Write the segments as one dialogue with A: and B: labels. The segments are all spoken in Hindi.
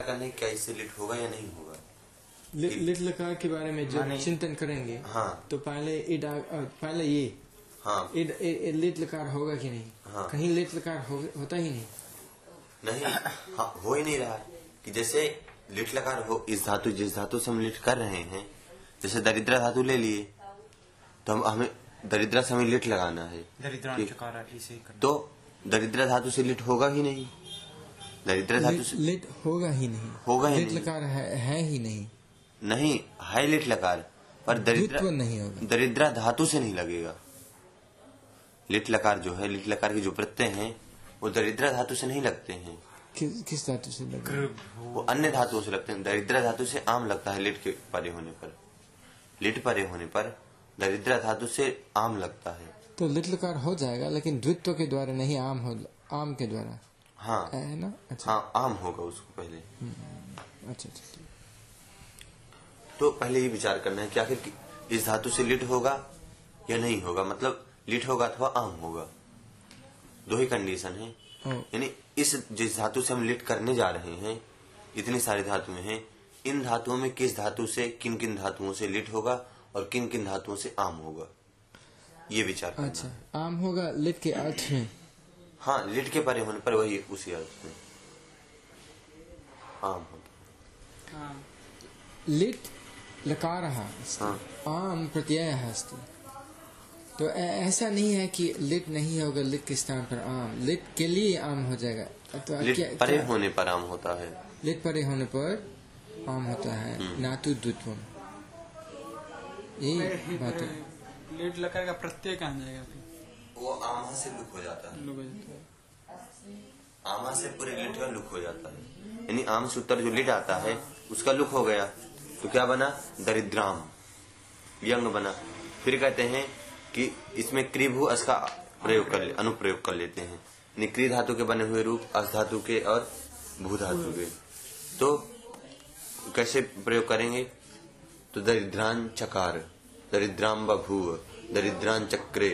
A: करने क्या इससे लेट होगा या नहीं होगा
B: लि- लिटिल कार के बारे में जब
A: माने-
B: चिंतन करेंगे
A: हाँ
B: तो पहले इड पहले ये
A: हाँ
B: इड लिटिल कार होगा कि नहीं
A: हाँ।
B: कहीं लिटिल कार हो, होता ही नहीं
A: नहीं हाँ, हो ही नहीं रहा कि जैसे लिट लकार हो इस धातु जिस धातु से हम लिट कर रहे हैं जैसे दरिद्रा धातु ले लिए तो हम हमें दरिद्रा से हमें लिट लगाना है
C: दरिद्रांश
A: ठीक।
C: चकारा इसे ही करना
A: तो दरिद्रा धातु से लिट होगा ही नहीं दरिद्रा धातु
B: लिट,
A: से
B: लिट होगा ही नहीं
A: होगा ही
B: लिटिल
A: नहीं।
B: कार है, है ही नहीं
A: नहीं है लिट लकार पर
B: द्वित्व
A: दरिद्रा
B: नहीं होगा
A: दरिद्रा धातु से नहीं लगेगा लिट लकार जो है लिट लकार के जो प्रत्यय हैं वो दरिद्रा धातु से नहीं लगते हैं
B: किस किस धातु से लगेगा
C: कृभ हो
A: वो अन्य धातुओं से लगते हैं दरिद्रा धातु से आम लगता है लिट के परे होने पर लिट परे होने पर दरिद्रा धातु से आम लगता है
B: तो लिटिल कार हो जाएगा लेकिन द्वित्व के द्वारा नहीं आम हो आम के द्वारा
A: हाँ
B: है ना अच्छा
A: हाँ आम होगा उसको पहले
B: अच्छा अच्छा ठीक।
A: तो पहले ये विचार करना है कि आखिर कि- इस धातु से लिट होगा या नहीं होगा मतलब लिट होगा अथवा आम होगा दो ही कंडीशन है
B: ओ,
A: यानी इस जिस धातु से हम लिट करने जा रहे हैं इतनी सारी धातुएं हैं इन धातुओं में किस धातु से किन किन धातुओं से लिट होगा और किन किन धातुओं से आम होगा ये विचार करना
B: अच्छा
A: है।
B: आम होगा लिट के अर्थ में
A: हाँ लिट के परे होने पर वही उसी अर्थ में आम होगा
B: लिट लकारः अस्ति
A: हाँ
B: आम प्रत्ययः अस्ति तो ऐ- ऐसा नहीं है कि लिट नहीं होगा लिट के स्थान पर आम लिट के लिए आम हो जाएगा तो क्या-
A: लिट परे
B: क्या-
A: होने पर आम होता है
B: लिट परे होने पर आम होता है
A: हम्म।
B: नातु द्वित्वम यही बात है
D: लेट लकार का प्रत्यय कहाँ जाएगा फिर
A: वो आमा से लुक हो जाता है
D: लोग हो जाता है।
A: आमा से पूरे लिट का लुक हो जाता है यानी आम से उत्तर जो लिट आता है उसका लुक हो गया तो क्या बना दरिद्राम व्यंग बना फिर कहते हैं कि इसमें क्रिभु अस का प्रयोग कर ले, अनुप्रयोग कर लेते हैं यानी क्री धातु के बने हुए रूप अस धातु के और भू धातु के तो कैसे प्रयोग करेंगे तो दरिद्रान चकार दरिद्राम बभूव दरिद्रान चक्रे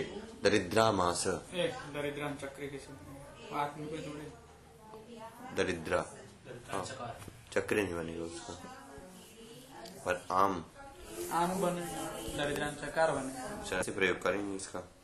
A: दरिद्रामास
D: एक दरिद्राम चक्र के शब्द आठ में कोई जोड़े
A: दरिद्रा हाँ, चक्र नहीं बनेगा उसका पर आम
D: आम बने दरिद्राम चकार बने
A: से प्रयोग करेंगे इसका